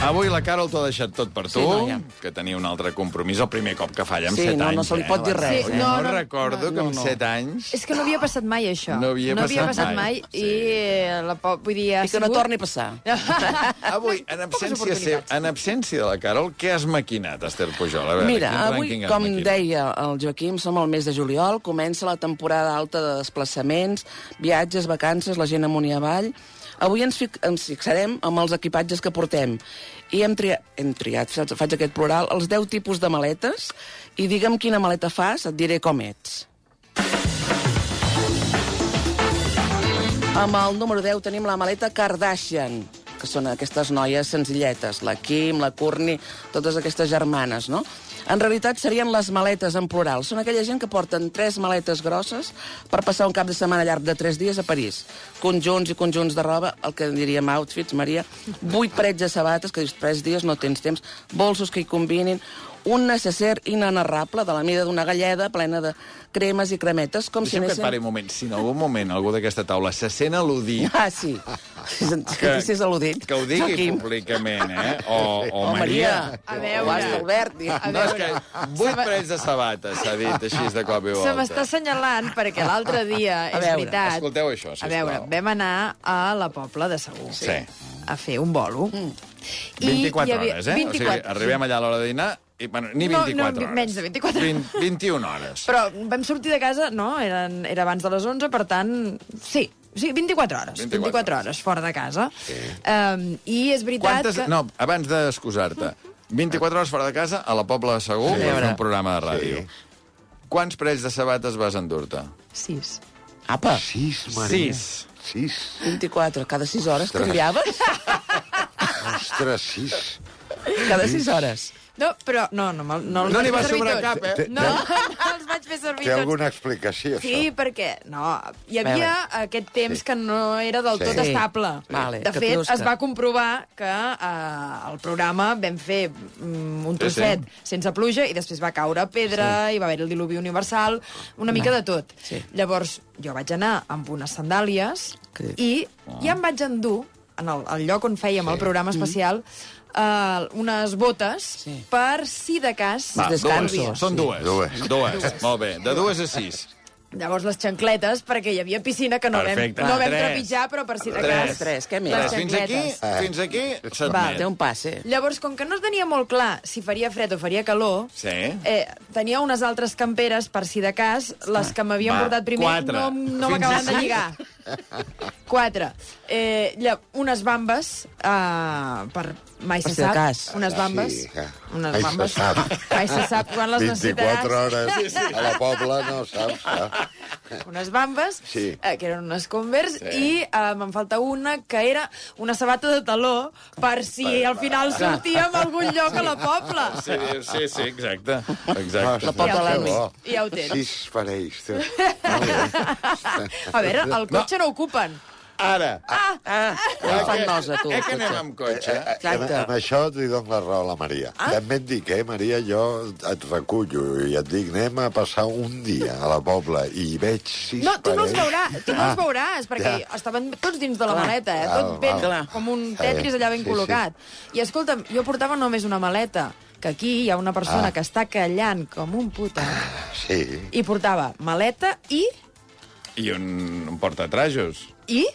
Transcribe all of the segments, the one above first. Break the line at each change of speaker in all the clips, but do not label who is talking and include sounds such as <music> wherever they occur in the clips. Avui la Carol t'ho ha deixat tot per tu,
Sí, noia.
que tenia un altre compromís, el primer cop que falla amb
Sí,
7
no,
anys.
no se li pot dir res,
Sí,
eh?
no,
No,
no,
no,
recordo
no,
que amb
no.
7
<laughs>
anys...
És que no havia passat mai, això.
No havia
no havia
passat
passat mai.
mai.
i eh, la, po- vull dir, ha
I que no
sigut-
torni a passar.
Avui, en absència, seu, en absència de la Carol, què has maquinat, Esther Pujol? A veure,
Mira,
quin
avui,
rànquing has
com
maquinat?
deia el Joaquim, som al mes de juliol, comença la temporada alta de desplaçaments, viatges, vacances, la gent amunt i avall. Avui ens, fic, ens fixarem amb els equipatges que portem. I hem, tria, hem triat, faig- faig aquest plural, els 10 tipus de maletes, i digue'm quina maleta fas, et diré com ets. Amb el número 10 tenim la maleta Kardashian, que són aquestes noies senzilletes, la Kim, la Courtney, totes aquestes germanes, no? En realitat serien les maletes en plural. Són aquella gent que porten tres maletes grosses per passar un cap de setmana llarg de tres dies a París. Conjunts i conjunts de roba, el que diríem outfits, Maria, vuit parets de sabates, que dius tres dies no tens temps, bolsos que hi combinin, un necessaire inenarrable de la mida d'una galleda plena de cremes i cremetes, com
Deixa'm
si
que et pari un moment. Si en algun moment algú d'aquesta taula se sent
<laughs>
al·ludit...
Ah, sí. Que, que és al·ludit.
Que ho digui
Joaquim.
públicament, eh? O, o
Oh, Maria.
Maria.
A veure.
Basta, Albert.
A
No, és que
veure.
vuit parells de sabates, s'ha dit així de cop i volta.
Se m'està assenyalant perquè
<laughs>
l'altre dia,
A
és
veure,
veritat...
escolteu això, sisplau.
A veure, vam anar a la Pobla de Segur
Sí.
a fer un bolo. Mm.
24 hores, eh? O sigui, arribem allà a l'hora de dinar i, bueno, ni
No,
24
no,
hores.
menys de 24.
20, 21 hores.
Però vam sortir de casa, no? Eren, era abans de les 11, per tant, sí. Sí, 24 hores.
24
24, 24 hores fora de casa. Sí. Um, I és veritat
Quantes...
que...
No, abans d'excusar-te. 24 hores fora de casa, a la Pobla de Segur, sí. per fer un programa de ràdio. Sí. Quants parells de sabates vas endur-te?
6.
Apa,
Sis, Maria.
Sis.
Sis.
24, cada 6 hores
Ostres.
canviaves?
Ostres,
<laughs>
sis.
Cada 6 hores.
No, però no, no, me'l- no, els
No n'hi
vaig
va
fer servir
sobrar
tots.
cap, eh? Té-
No, no els vaig fer servir
Té
tots.
alguna explicació, això?
Sí, perquè no, hi havia aquest temps
Sí.
que no era del
Sí.
tot
Sí.
estable.
Vale,
de
que
fet,
plusca.
es va comprovar que eh, el programa vam fer mm, un
Sí, sí.
trosset sense pluja i després va caure pedra sí. i va haver el diluvi universal, una mica de tot.
Sí.
Llavors, jo vaig anar amb unes sandàlies
Que-
i ja em vaig endur, en el, el lloc on fèiem sí. el programa especial, eh, unes botes
Sí.
per si de cas...
Va,
dues.
descansos.
Són dues.
Dues.
dues. Molt bé. De dues a sis.
Llavors les xancletes, perquè hi havia piscina que no
Perfecte.
vam, no vam
Tres.
trepitjar, però per si de
Tres.
cas...
Tres, què més?
les
Tres. Fins aquí,
xancletes.
fins aquí,
Va,
Té
s'admet.
un eh? passe.
Llavors, com que no es tenia molt clar si faria fred o faria calor,
Sí.
eh, tenia unes altres camperes, per si de cas, les que m'havien
Va,
portat primer
quatre.
no, no
Fins a
m'acabaven de
sis.
lligar. Quatre. Eh, lla, unes bambes, eh, per mai
Per
se
si de
sap.
cas.
Ah,
Unes bambes.
Ah, Sí, ja.
Unes
Mai se
bambes.
sap.
Mai se sap quan les
24
necessitaràs.
hores a la Pobla, no saps? Ah.
unes bambes,
Sí.
eh, que eren unes Converse, i eh, me'n falta una que era una sabata de taló per si al final sortíem a algun lloc a la Pobla.
Sí, sí, sí, exacte. Exacte.
Ostres,
Pobla
que
l'Elmi.
bo.
Ja ho tens.
Sis parells. tu.
<laughs> A veure, el cotxe no, ocupen.
Ara.
Ah,
Em fan nosa, tu.
Eh que anem amb cotxe?
Exacte.
Amb, amb això t'hi dono la raó a la Maria. Ah? També et dic, eh, Maria, jo et recullo i et dic, anem a passar un dia a la Pobla i veig sis
no, tu no els
parells. Ah,
veuràs, tu no els veuràs, perquè
ja.
estaven tots dins de la
Clar.
maleta, eh?
Val,
tot ben,
val.
com un tetris allà ben
Sí, sí.
col·locat. I escolta'm, jo portava només una maleta, que aquí hi ha una persona
Ah.
que està callant com un puta,
Sí.
i portava maleta i...
I un, un portatrajos.
i...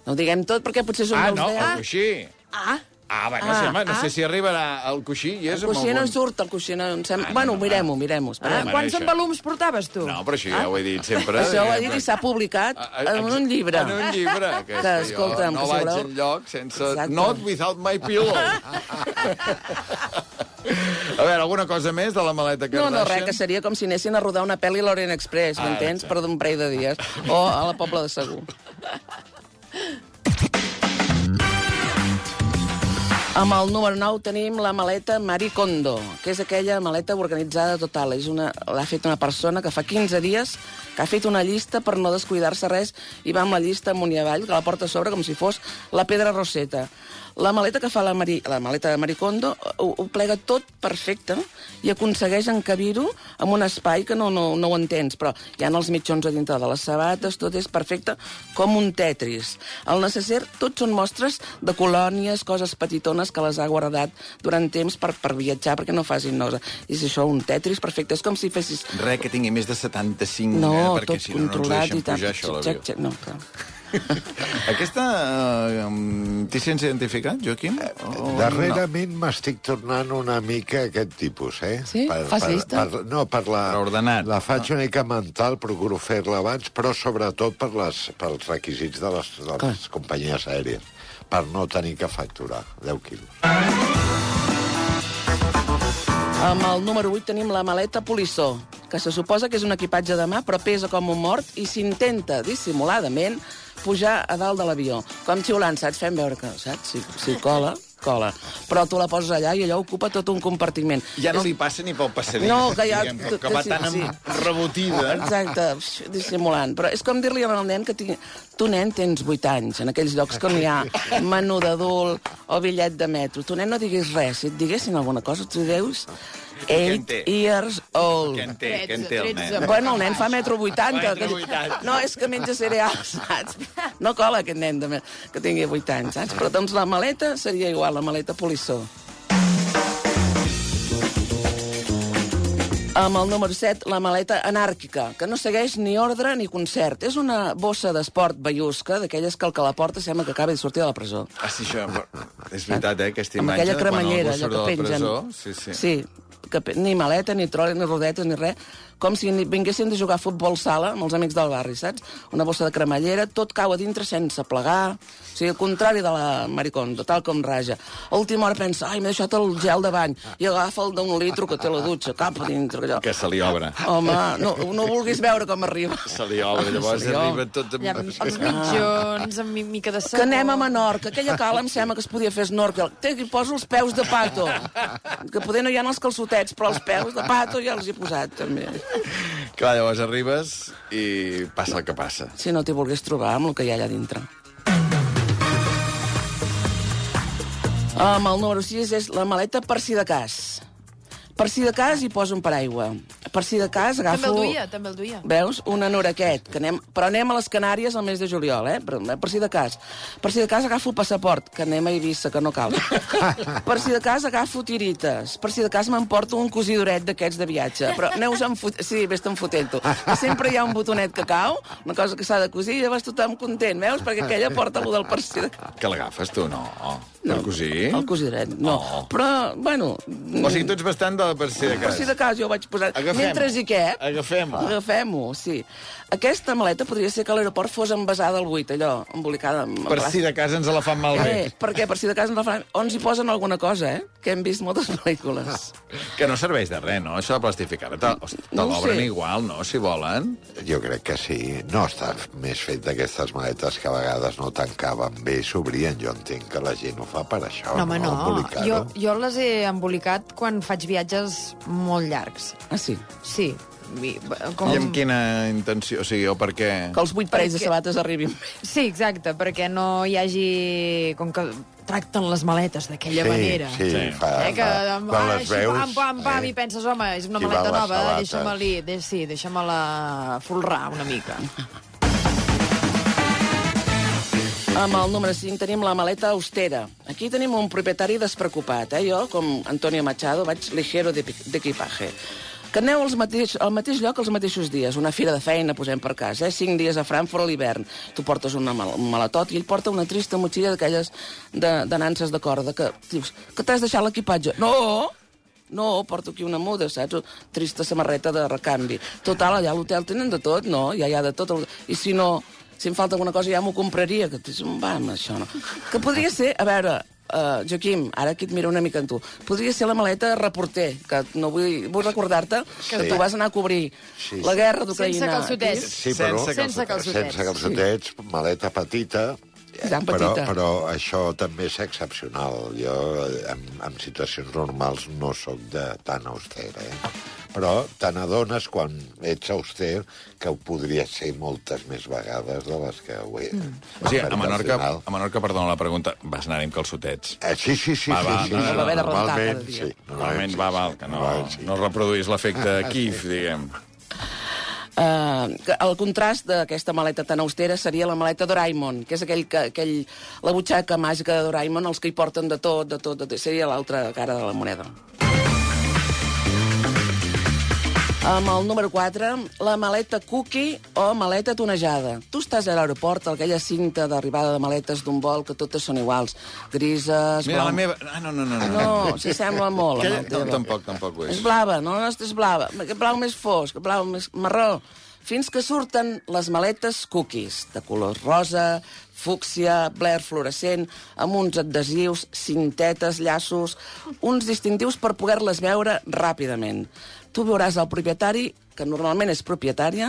No ho diguem tot perquè potser som
Ah,
dels
no, el
10.
coixí.
Ah,
Ah, va, no, sé, home, no
ah.
sé si arribarà al coixí. I és
El coixer
amb
no
algun-
en surt, el coixer no en sembla...
Ah, no,
bueno,
no,
mirem-ho, mirem-ho,
Ah,
esperem.
Home,
quants
això-
envolums portaves tu?
No, però això ja ho he dit sempre.
Ah. Això ho ha dit
Diguem,
i s'ha publicat
eh, Ah, ah,
en un llibre.
En un
<laughs>
llibre. Que, és
Que,
jo
escolta'm,
no
que si
vaig
voleu-
enlloc sense...
Exacte.
Not without my
<laughs>
pillow. a veure, alguna cosa més de la maleta
No,
Kardashian?
no, res, que seria com si anessin a rodar una pel·li a l'Orient Express,
Ah,
m'entens?
exacte.
Per d'un parell de dies. O a la Pobla de Segur. Amb el número 9 tenim la maleta Marie Kondo, que és aquella maleta organitzada total. És una L'ha fet una persona que fa 15 dies que ha fet una llista per no descuidar-se res i va amb la llista amunt i avall, que la porta a sobre com si fos la pedra roseta. La maleta que fa la, Mari, la maleta de Maricondo ho, ho plega tot perfecte i aconsegueix encabir-ho en un espai que no, no, no ho entens, però hi ha els mitjons a dintre de les sabates, tot és perfecte, com un tetris. Al necessaire tot són mostres de colònies, coses petitones que les ha guardat durant temps per, per viatjar perquè no facin nosa. I és això, un tetris perfecte. És com si fessis...
Re que tingui més de 75,
No,
eh, perquè
tot
si no, no ens ho
controlat
deixen
i tal.
pujar, això, a
Xac,
l'avió.
xac, No, clar.
Aquesta... Eh, mm, T'hi sents identificat, Joaquim? O
Darrerament m'estic tornant una mica aquest tipus, eh?
Sí? Fas llista?
Per, no, per la...
Per ordenat.
La faig una mica mental, procuro fer-la abans, però sobretot per les, pels requisits de les, de les companyies aèries, per no tenir que facturar 10 quilos.
Amb el número 8 tenim la maleta polissó, que se suposa que és un equipatge de mà, però pesa com un mort i s'intenta dissimuladament pujar a dalt de l'avió. Com xiulant, saps? Fem veure que, saps? Si, si cola, cola. Però tu la poses allà i allò ocupa tot un compartiment.
No, ja no li passa ni pel passadís.
No, que ja-
diguem, Que, que va
sí,
tan
sí. Ah,
rebotida.
Exacte, pf, dissimulant. Però és com dir-li al nen que tingui... tu, nen, tens 8 anys, en aquells llocs que no hi ha menú d'adult o bitllet de metro. Tu, nen, no diguis res. Si et diguessin alguna cosa, tu dius...
en té?
8 years old.
Que en té, que en té el nen.
Tretze,
Bueno, el nen fa metro 80.
Metro 80.
No, és que menja cereals, <laughs> saps? No cola aquest nen de, me- que tingui 8 anys, saps? Però doncs la maleta seria igual, la maleta polissó. Amb el número 7, la maleta anàrquica, que no segueix ni ordre ni concert. És una bossa d'esport ballusca, d'aquelles que el que la porta sembla que acaba de sortir de la presó.
Ah, sí, això, és veritat, eh, aquesta
amb
imatge.
aquella
quan
cremallera,
algú surt
allò que
de la
pengen.
presó, Sí, sí.
sí que pe- ni maleta, ni trola, ni rodetes, ni res, com si ni- vinguessin de jugar a futbol sala amb els amics del barri, saps? Una bossa de cremallera, tot cau a dintre sense plegar, o sigui, al contrari de la Maricondo, tal com raja. A última hora pensa, ai, m'he deixat el gel de bany, i agafa el d'un litro que té la dutxa, cap a dintre, allò.
Que se li obre.
Home, no, no vulguis veure com arriba.
Se li obre, llavors
Ah, Se li obre.
arriba tot... amb-
Allà, amb, amb mitjons, amb mi- mica de sabó.
que anem a Menorca. Aquella cala em sembla que es podia fer snorkel. Té, hi poso els peus de pato. Que poder no hi ha els calçotets, però els peus de pato ja els he posat, també.
<laughs> Clar, llavors arribes i passa el que passa.
Si no t'hi volgués trobar amb el que hi ha allà dintre. Amb el número 6 és la maleta per si de cas. Per si de cas hi poso un paraigua. Per si de cas agafo...
També el duia, també el duia.
Veus? Un anoraquet. Que anem, però anem a les Canàries el mes de juliol, eh? Per, per si de cas. Per si de cas agafo passaport, que anem a Eivissa, que no cal. per si de cas agafo tirites. Per si de cas m'emporto un cosidoret d'aquests de viatge. Però aneu-se'n fot... Sí, vés te'n fotent, tu. Que Sempre hi ha un botonet que cau, una cosa que s'ha de cosir, i llavors tothom content, veus? Perquè aquella porta allò del per si de cas.
Que l'agafes, tu? No. no. El cosí?
El cosidoret, no.
Eh? Oh.
Però, bueno...
O sigui, tu ets bastant de la persera que
Per si de cas jo ho vaig posar...
Agafem.
Mentre i què?
Agafem-ho.
Agafem-ho, sí. Aquesta maleta podria ser que a l'aeroport fos envasada al buit, allò, embolicada. Amb
Per si de casa ens la fan malbé.
Eh, per què? Per si de cas ens la faran... On s'hi posen alguna cosa, eh? Que hem vist moltes pel·lícules.
Que no serveix de res, no? Això de plastificar. Te, hosti, te
No ho
l'obren
sé.
igual, no? Si volen.
Jo crec que sí. No està més fet d'aquestes maletes que a vegades no tancaven bé, s'obrien. Jo entenc que la gent ho fa per això,
No, home, no. Jo,
Embolicar-ho.
jo les he embolicat quan faig viatges molt llargs.
Ah, sí.
Sí. I,
I amb quina intenció? O sigui, o per què...
Que els vuit parells de
Perquè-
sabates arribin bé.
Sí, exacte, perquè no hi hagi... Com que tracten les maletes d'aquella manera.
Sí, sí,
Sí.
fa,
Eh, que,
fa.
amb,
Quan
ah,
les
així,
veus... eh?
pam, pam, pam, i penses, home, és una
Qui va
maleta
a les
nova,
sabates.
deixa-me-li... De, sí, deixa-me-la folrar una
<laughs>
mica.
Amb el número 5 tenim la maleta austera. Aquí tenim un propietari despreocupat, eh? Jo, com Antonio Machado, vaig ligero de pi- d'equipaje. Que aneu als mateix, al mateix lloc els mateixos dies. Una fira de feina, posem per cas, eh? Cinc dies a Frankfurt a l'hivern. Tu portes una mal un maletot i ell porta una trista motxilla d'aquelles de, de nances de corda que dius, que t'has deixat l'equipatge. No! No, porto aquí una muda, saps? O Trista samarreta de recanvi. Total, allà a l'hotel tenen de tot, no? Ja hi ha de tot. El... I si no, si em falta alguna cosa ja m'ho compraria. Que dius, va, amb això no. Que podria ser, a veure, uh, Joaquim, ara aquí et miro una mica en tu, podria ser la maleta reporter, que no vull, vull recordar-te que
Sí.
tu vas anar a cobrir
Sí, sí.
la guerra
Sense
d'Ucraïna.
calçotets.
Sí, però...
Sense
Sense calçotets.
Sense calçotets, maleta petita... eh,
I tant,
Però,
petita.
però això també és excepcional. Jo, eh, en, en situacions normals, no sóc de tan austera. Eh? però te n'adones quan ets auster que ho podria ser moltes més vegades de les que ho era. Mm.
O sigui, a Menorca, a Menorca, perdona la pregunta, vas anar amb calçotets.
Eh, sí, sí, sí.
Va,
sí,
va,
sí,
no, no,
sí,
no, va haver
de rentar
normalment,
cada dia.
sí,
Normalment
sí,
va,
sí,
val, que no,
normalment sí.
no reproduïs l'efecte Kif, diguem.
Eh, que el contrast d'aquesta maleta tan austera seria la maleta Doraemon, que és aquell que, aquell, la butxaca màgica de Doraemon, els que hi porten de tot, de tot, de tot. Seria l'altra cara de la moneda. Amb el número 4, la maleta cookie o maleta tonejada. Tu estàs a l'aeroport, a aquella cinta d'arribada de maletes d'un vol que totes són iguals. Grises,
Mira, la
blanques...
meva... Ah, no, no, no.
No, s'hi sembla molt.
Aquella-
amb el teu.
no, tampoc, tampoc ho és.
És blava, no? La nostra és blava. Aquest blau més fosc, aquest blau més marró. Fins que surten les maletes cookies, de colors rosa, fúcsia, blair fluorescent, amb uns adhesius, cintetes, llaços, uns distintius per poder-les veure ràpidament. Tu veuràs el propietari, que normalment és propietària,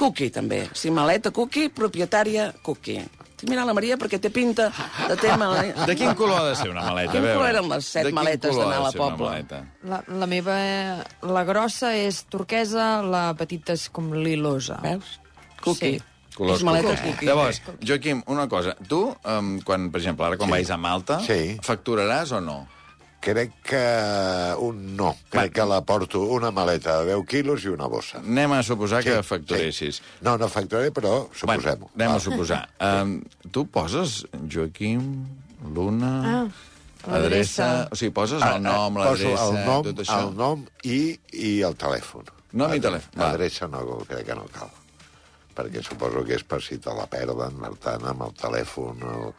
cookie també. Si maleta cookie, propietària cookie. Estic mirant la Maria perquè té pinta de tema...
De quin color ha de ser una maleta?
Quin
A veure.
color eren les set
De quin
maletes
color ha
d'anar
de
a la
ser una
Pobla?
maleta?
La, la meva... La grossa és turquesa, la petita és com lilosa.
Veus? Cookie.
Sí.
Colors
És maleta
cookies.
cookie.
Llavors, Joaquim, una cosa. Tu, um, quan, per exemple, ara quan sí. vais a Malta,
Sí.
facturaràs o no?
Crec que un no. Crec que la porto una maleta de 10 quilos i una bossa.
Anem a suposar sí, que facturessis.
Sí. No, no facturaré, però suposem-ho.
anem
Va.
a
<laughs>
suposar. Um, tu poses Joaquim, Luna...
Ah, l'adreça.
O sigui, poses el nom,
Ah, Eh, poso
l'adreça,
el nom,
tot això.
El nom i, i el telèfon.
Nom i telèfon, va.
L'adreça no, crec que no cal. Perquè suposo que és per si te la perden, per tant, amb el telèfon, el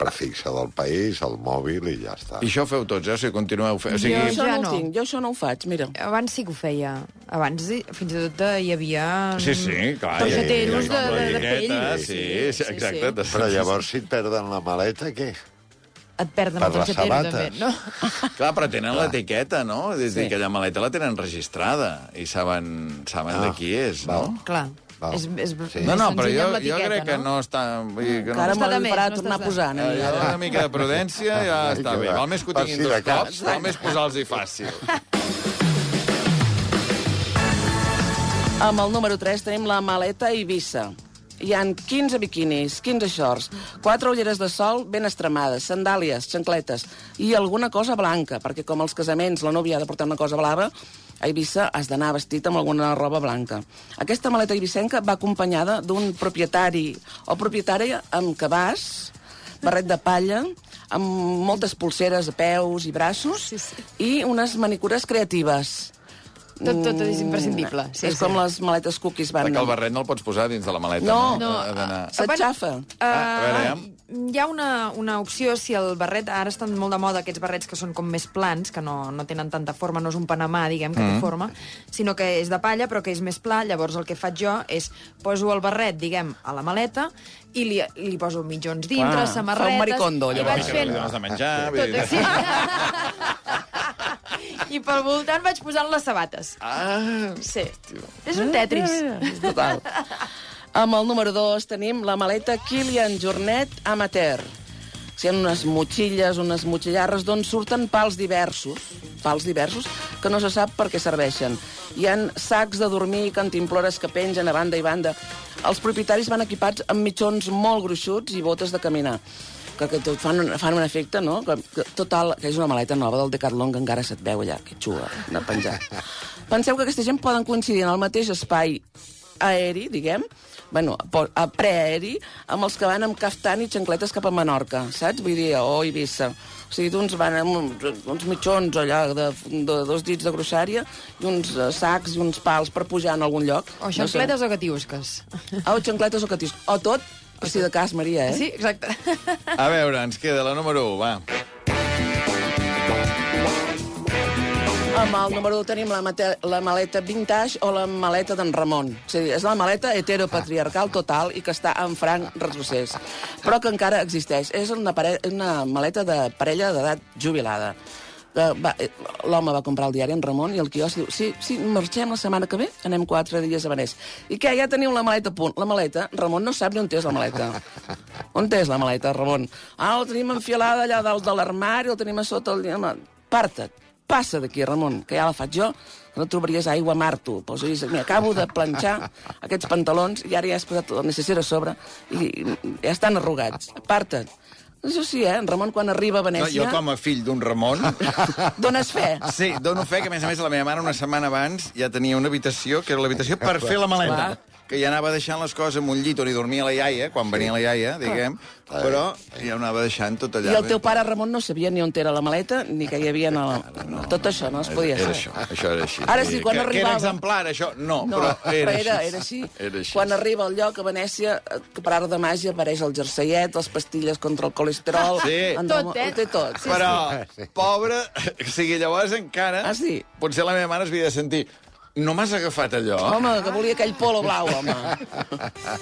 prefixe del país, el mòbil i ja està.
I això ho feu tots, eh? O sigui, continueu fent... O sigui,
Jo-
això
Ja
no,
no.
ho tinc, jo això no ho faig, mira.
Abans sí que ho feia. Abans hi- fins i tot eh, hi havia...
Sí, sí, clar.
Torxeteros
ja, ja, ja,
de, de, de pell.
lligueta, Sí, sí, exacte. Sí, sí.
Però llavors, si et perden la maleta, què?
Et perden
Per
el
les
torxetero, també,
sabates. <laughs>
no?
Clar, però tenen l'etiqueta, no? És a dir,
Sí.
aquella maleta la tenen registrada i saben, saben de qui és, no?
Clar.
Ah, Val.
És, és,
Sí.
és
No, no, però
senzill
jo,
amb
jo
l'etiqueta,
crec que no està... Vull dir que no,
Encara
està
me
de més,
l'haurà
no
de tornar a
estàs de-
posar, una
Eh,
mica.
<laughs>
una mica de prudència ja està bé. Val més que ho
Per
tinguin
si de
dos
cas.
cops, val més posar-los-hi fàcil.
Amb el número 3 tenim la maleta Eivissa. Hi han 15 biquinis, 15 shorts, 4 ulleres de sol ben estremades, sandàlies, xancletes i alguna cosa blanca, perquè com als casaments la núvia ha de portar una cosa blava, a Eivissa has d'anar vestit amb alguna roba blanca. Aquesta maleta eivissenca va acompanyada d'un propietari o propietària amb cabàs, barret de palla, amb moltes pulseres a peus i braços
Sí, sí.
i unes manicures creatives.
Tot, tot és imprescindible.
Uh.
Sí, és sí. com les maletes cookies van...
Que el barret no el pots posar dins de la maleta.
No.
no.
No,
Ha d'anar-
ah, S'aixafa.
Eh,
a veure, ja.
hi ha una, una opció, si el barret... Ara estan molt de moda aquests barrets que són com més plans, que no, no tenen tanta forma, no és un panamà, diguem, que mm. té forma, sinó que és de palla, però que és més pla. Llavors el que faig jo és poso el barret, diguem, a la maleta i li, li poso mitjons
Clar,
dintre, ah,
fa un
samarretes...
maricondo,
I
llavors.
vaig fent...
Has de menjar... vull
Tot
dir-
així. <laughs> I pel voltant vaig posant les sabates.
Ah,
Sí. És un Tetris.
És Eh, Total. Amb el número 2 tenim la maleta Kilian Jornet Amateur. Si hi ha unes motxilles, unes motxillarres, d'on surten pals diversos, pals diversos, que no se sap per què serveixen. Hi han sacs de dormir, cantimplores que pengen a banda i banda. Els propietaris van equipats amb mitjons molt gruixuts i botes de caminar que, que tot fan, un, fan un efecte, no? Que, que, total, que és una maleta nova del Decathlon que encara se't veu allà, que xua, anar penjat. Penseu que aquesta gent poden coincidir en el mateix espai aeri, diguem, bueno, po- a preaeri, amb els que van amb caftan i xancletes cap a Menorca, saps? Vull dir, o Eivissa. O sigui, d'uns van amb uns, uns mitjons allà de, de dos dits de grossària i uns eh, sacs i uns pals per pujar en algun lloc.
O xancletes o gatiusques.
No sé. Ah, o xancletes o catis. O tot, per si de cas, Maria, eh?
Sí, exacte.
<laughs> a veure, ens queda la número 1, va.
Amb el número 1 tenim la, mate- la maleta vintage o la maleta d'en Ramon. O sigui, és la maleta heteropatriarcal total i que està en franc retrocés, però que encara existeix. És una, pare una maleta de parella d'edat jubilada. Que va- eh, L'home va comprar el diari en Ramon i el quios diu sí, sí, marxem la setmana que ve, anem quatre dies a Venès. I què, ja teniu la maleta a punt? La maleta? Ramon no sap ni on té la maleta. On és la maleta, Ramon? Ah, la tenim enfilada allà dalt de l'armari, la tenim a sota el... Home, Part-te, passa d'aquí, Ramon, que ja la faig jo, que no trobaries aigua a Marto. Però dius, mira, acabo de planxar aquests pantalons i ara ja has posat la necessera a sobre i ja estan arrugats. Aparta't. Això sí, eh? En Ramon, quan arriba a
No, jo
Venècia...
com a fill d'un
<laughs>
Ramon...
Dones
<laughs>
fe.
Sí, dono fe que, a més a més, la meva mare una setmana abans ja tenia una habitació, que era l'habitació per fer la maleta, que ja anava deixant les coses en un llit on hi dormia la iaia, quan venia la iaia, diguem, però ja ho anava deixant tot allà.
Ah. I el teu pare, Ramon, no sabia ni on era la maleta, ni que hi havia... No, no, tot això no es podia
Era
saber.
això, això era així.
Ara
Vull
sí,
dir
quan
que, Que
arribava-
era exemplar, això? No,
No,
però era,
era,
així.
era així.
Era així.
Quan arriba al lloc a Venècia, eh, que per art de màgia apareix el jerseiet, les pastilles contra el colesterol...
Sí.
en
Tot,
Ramon-
eh?
Ho té tot.
Però, pobre, o sigui, llavors encara...
Ah, sí?
Potser la meva mare
Oh,
es havia de sentir... No m'has agafat allò?
Home, que volia aquell polo blau, home.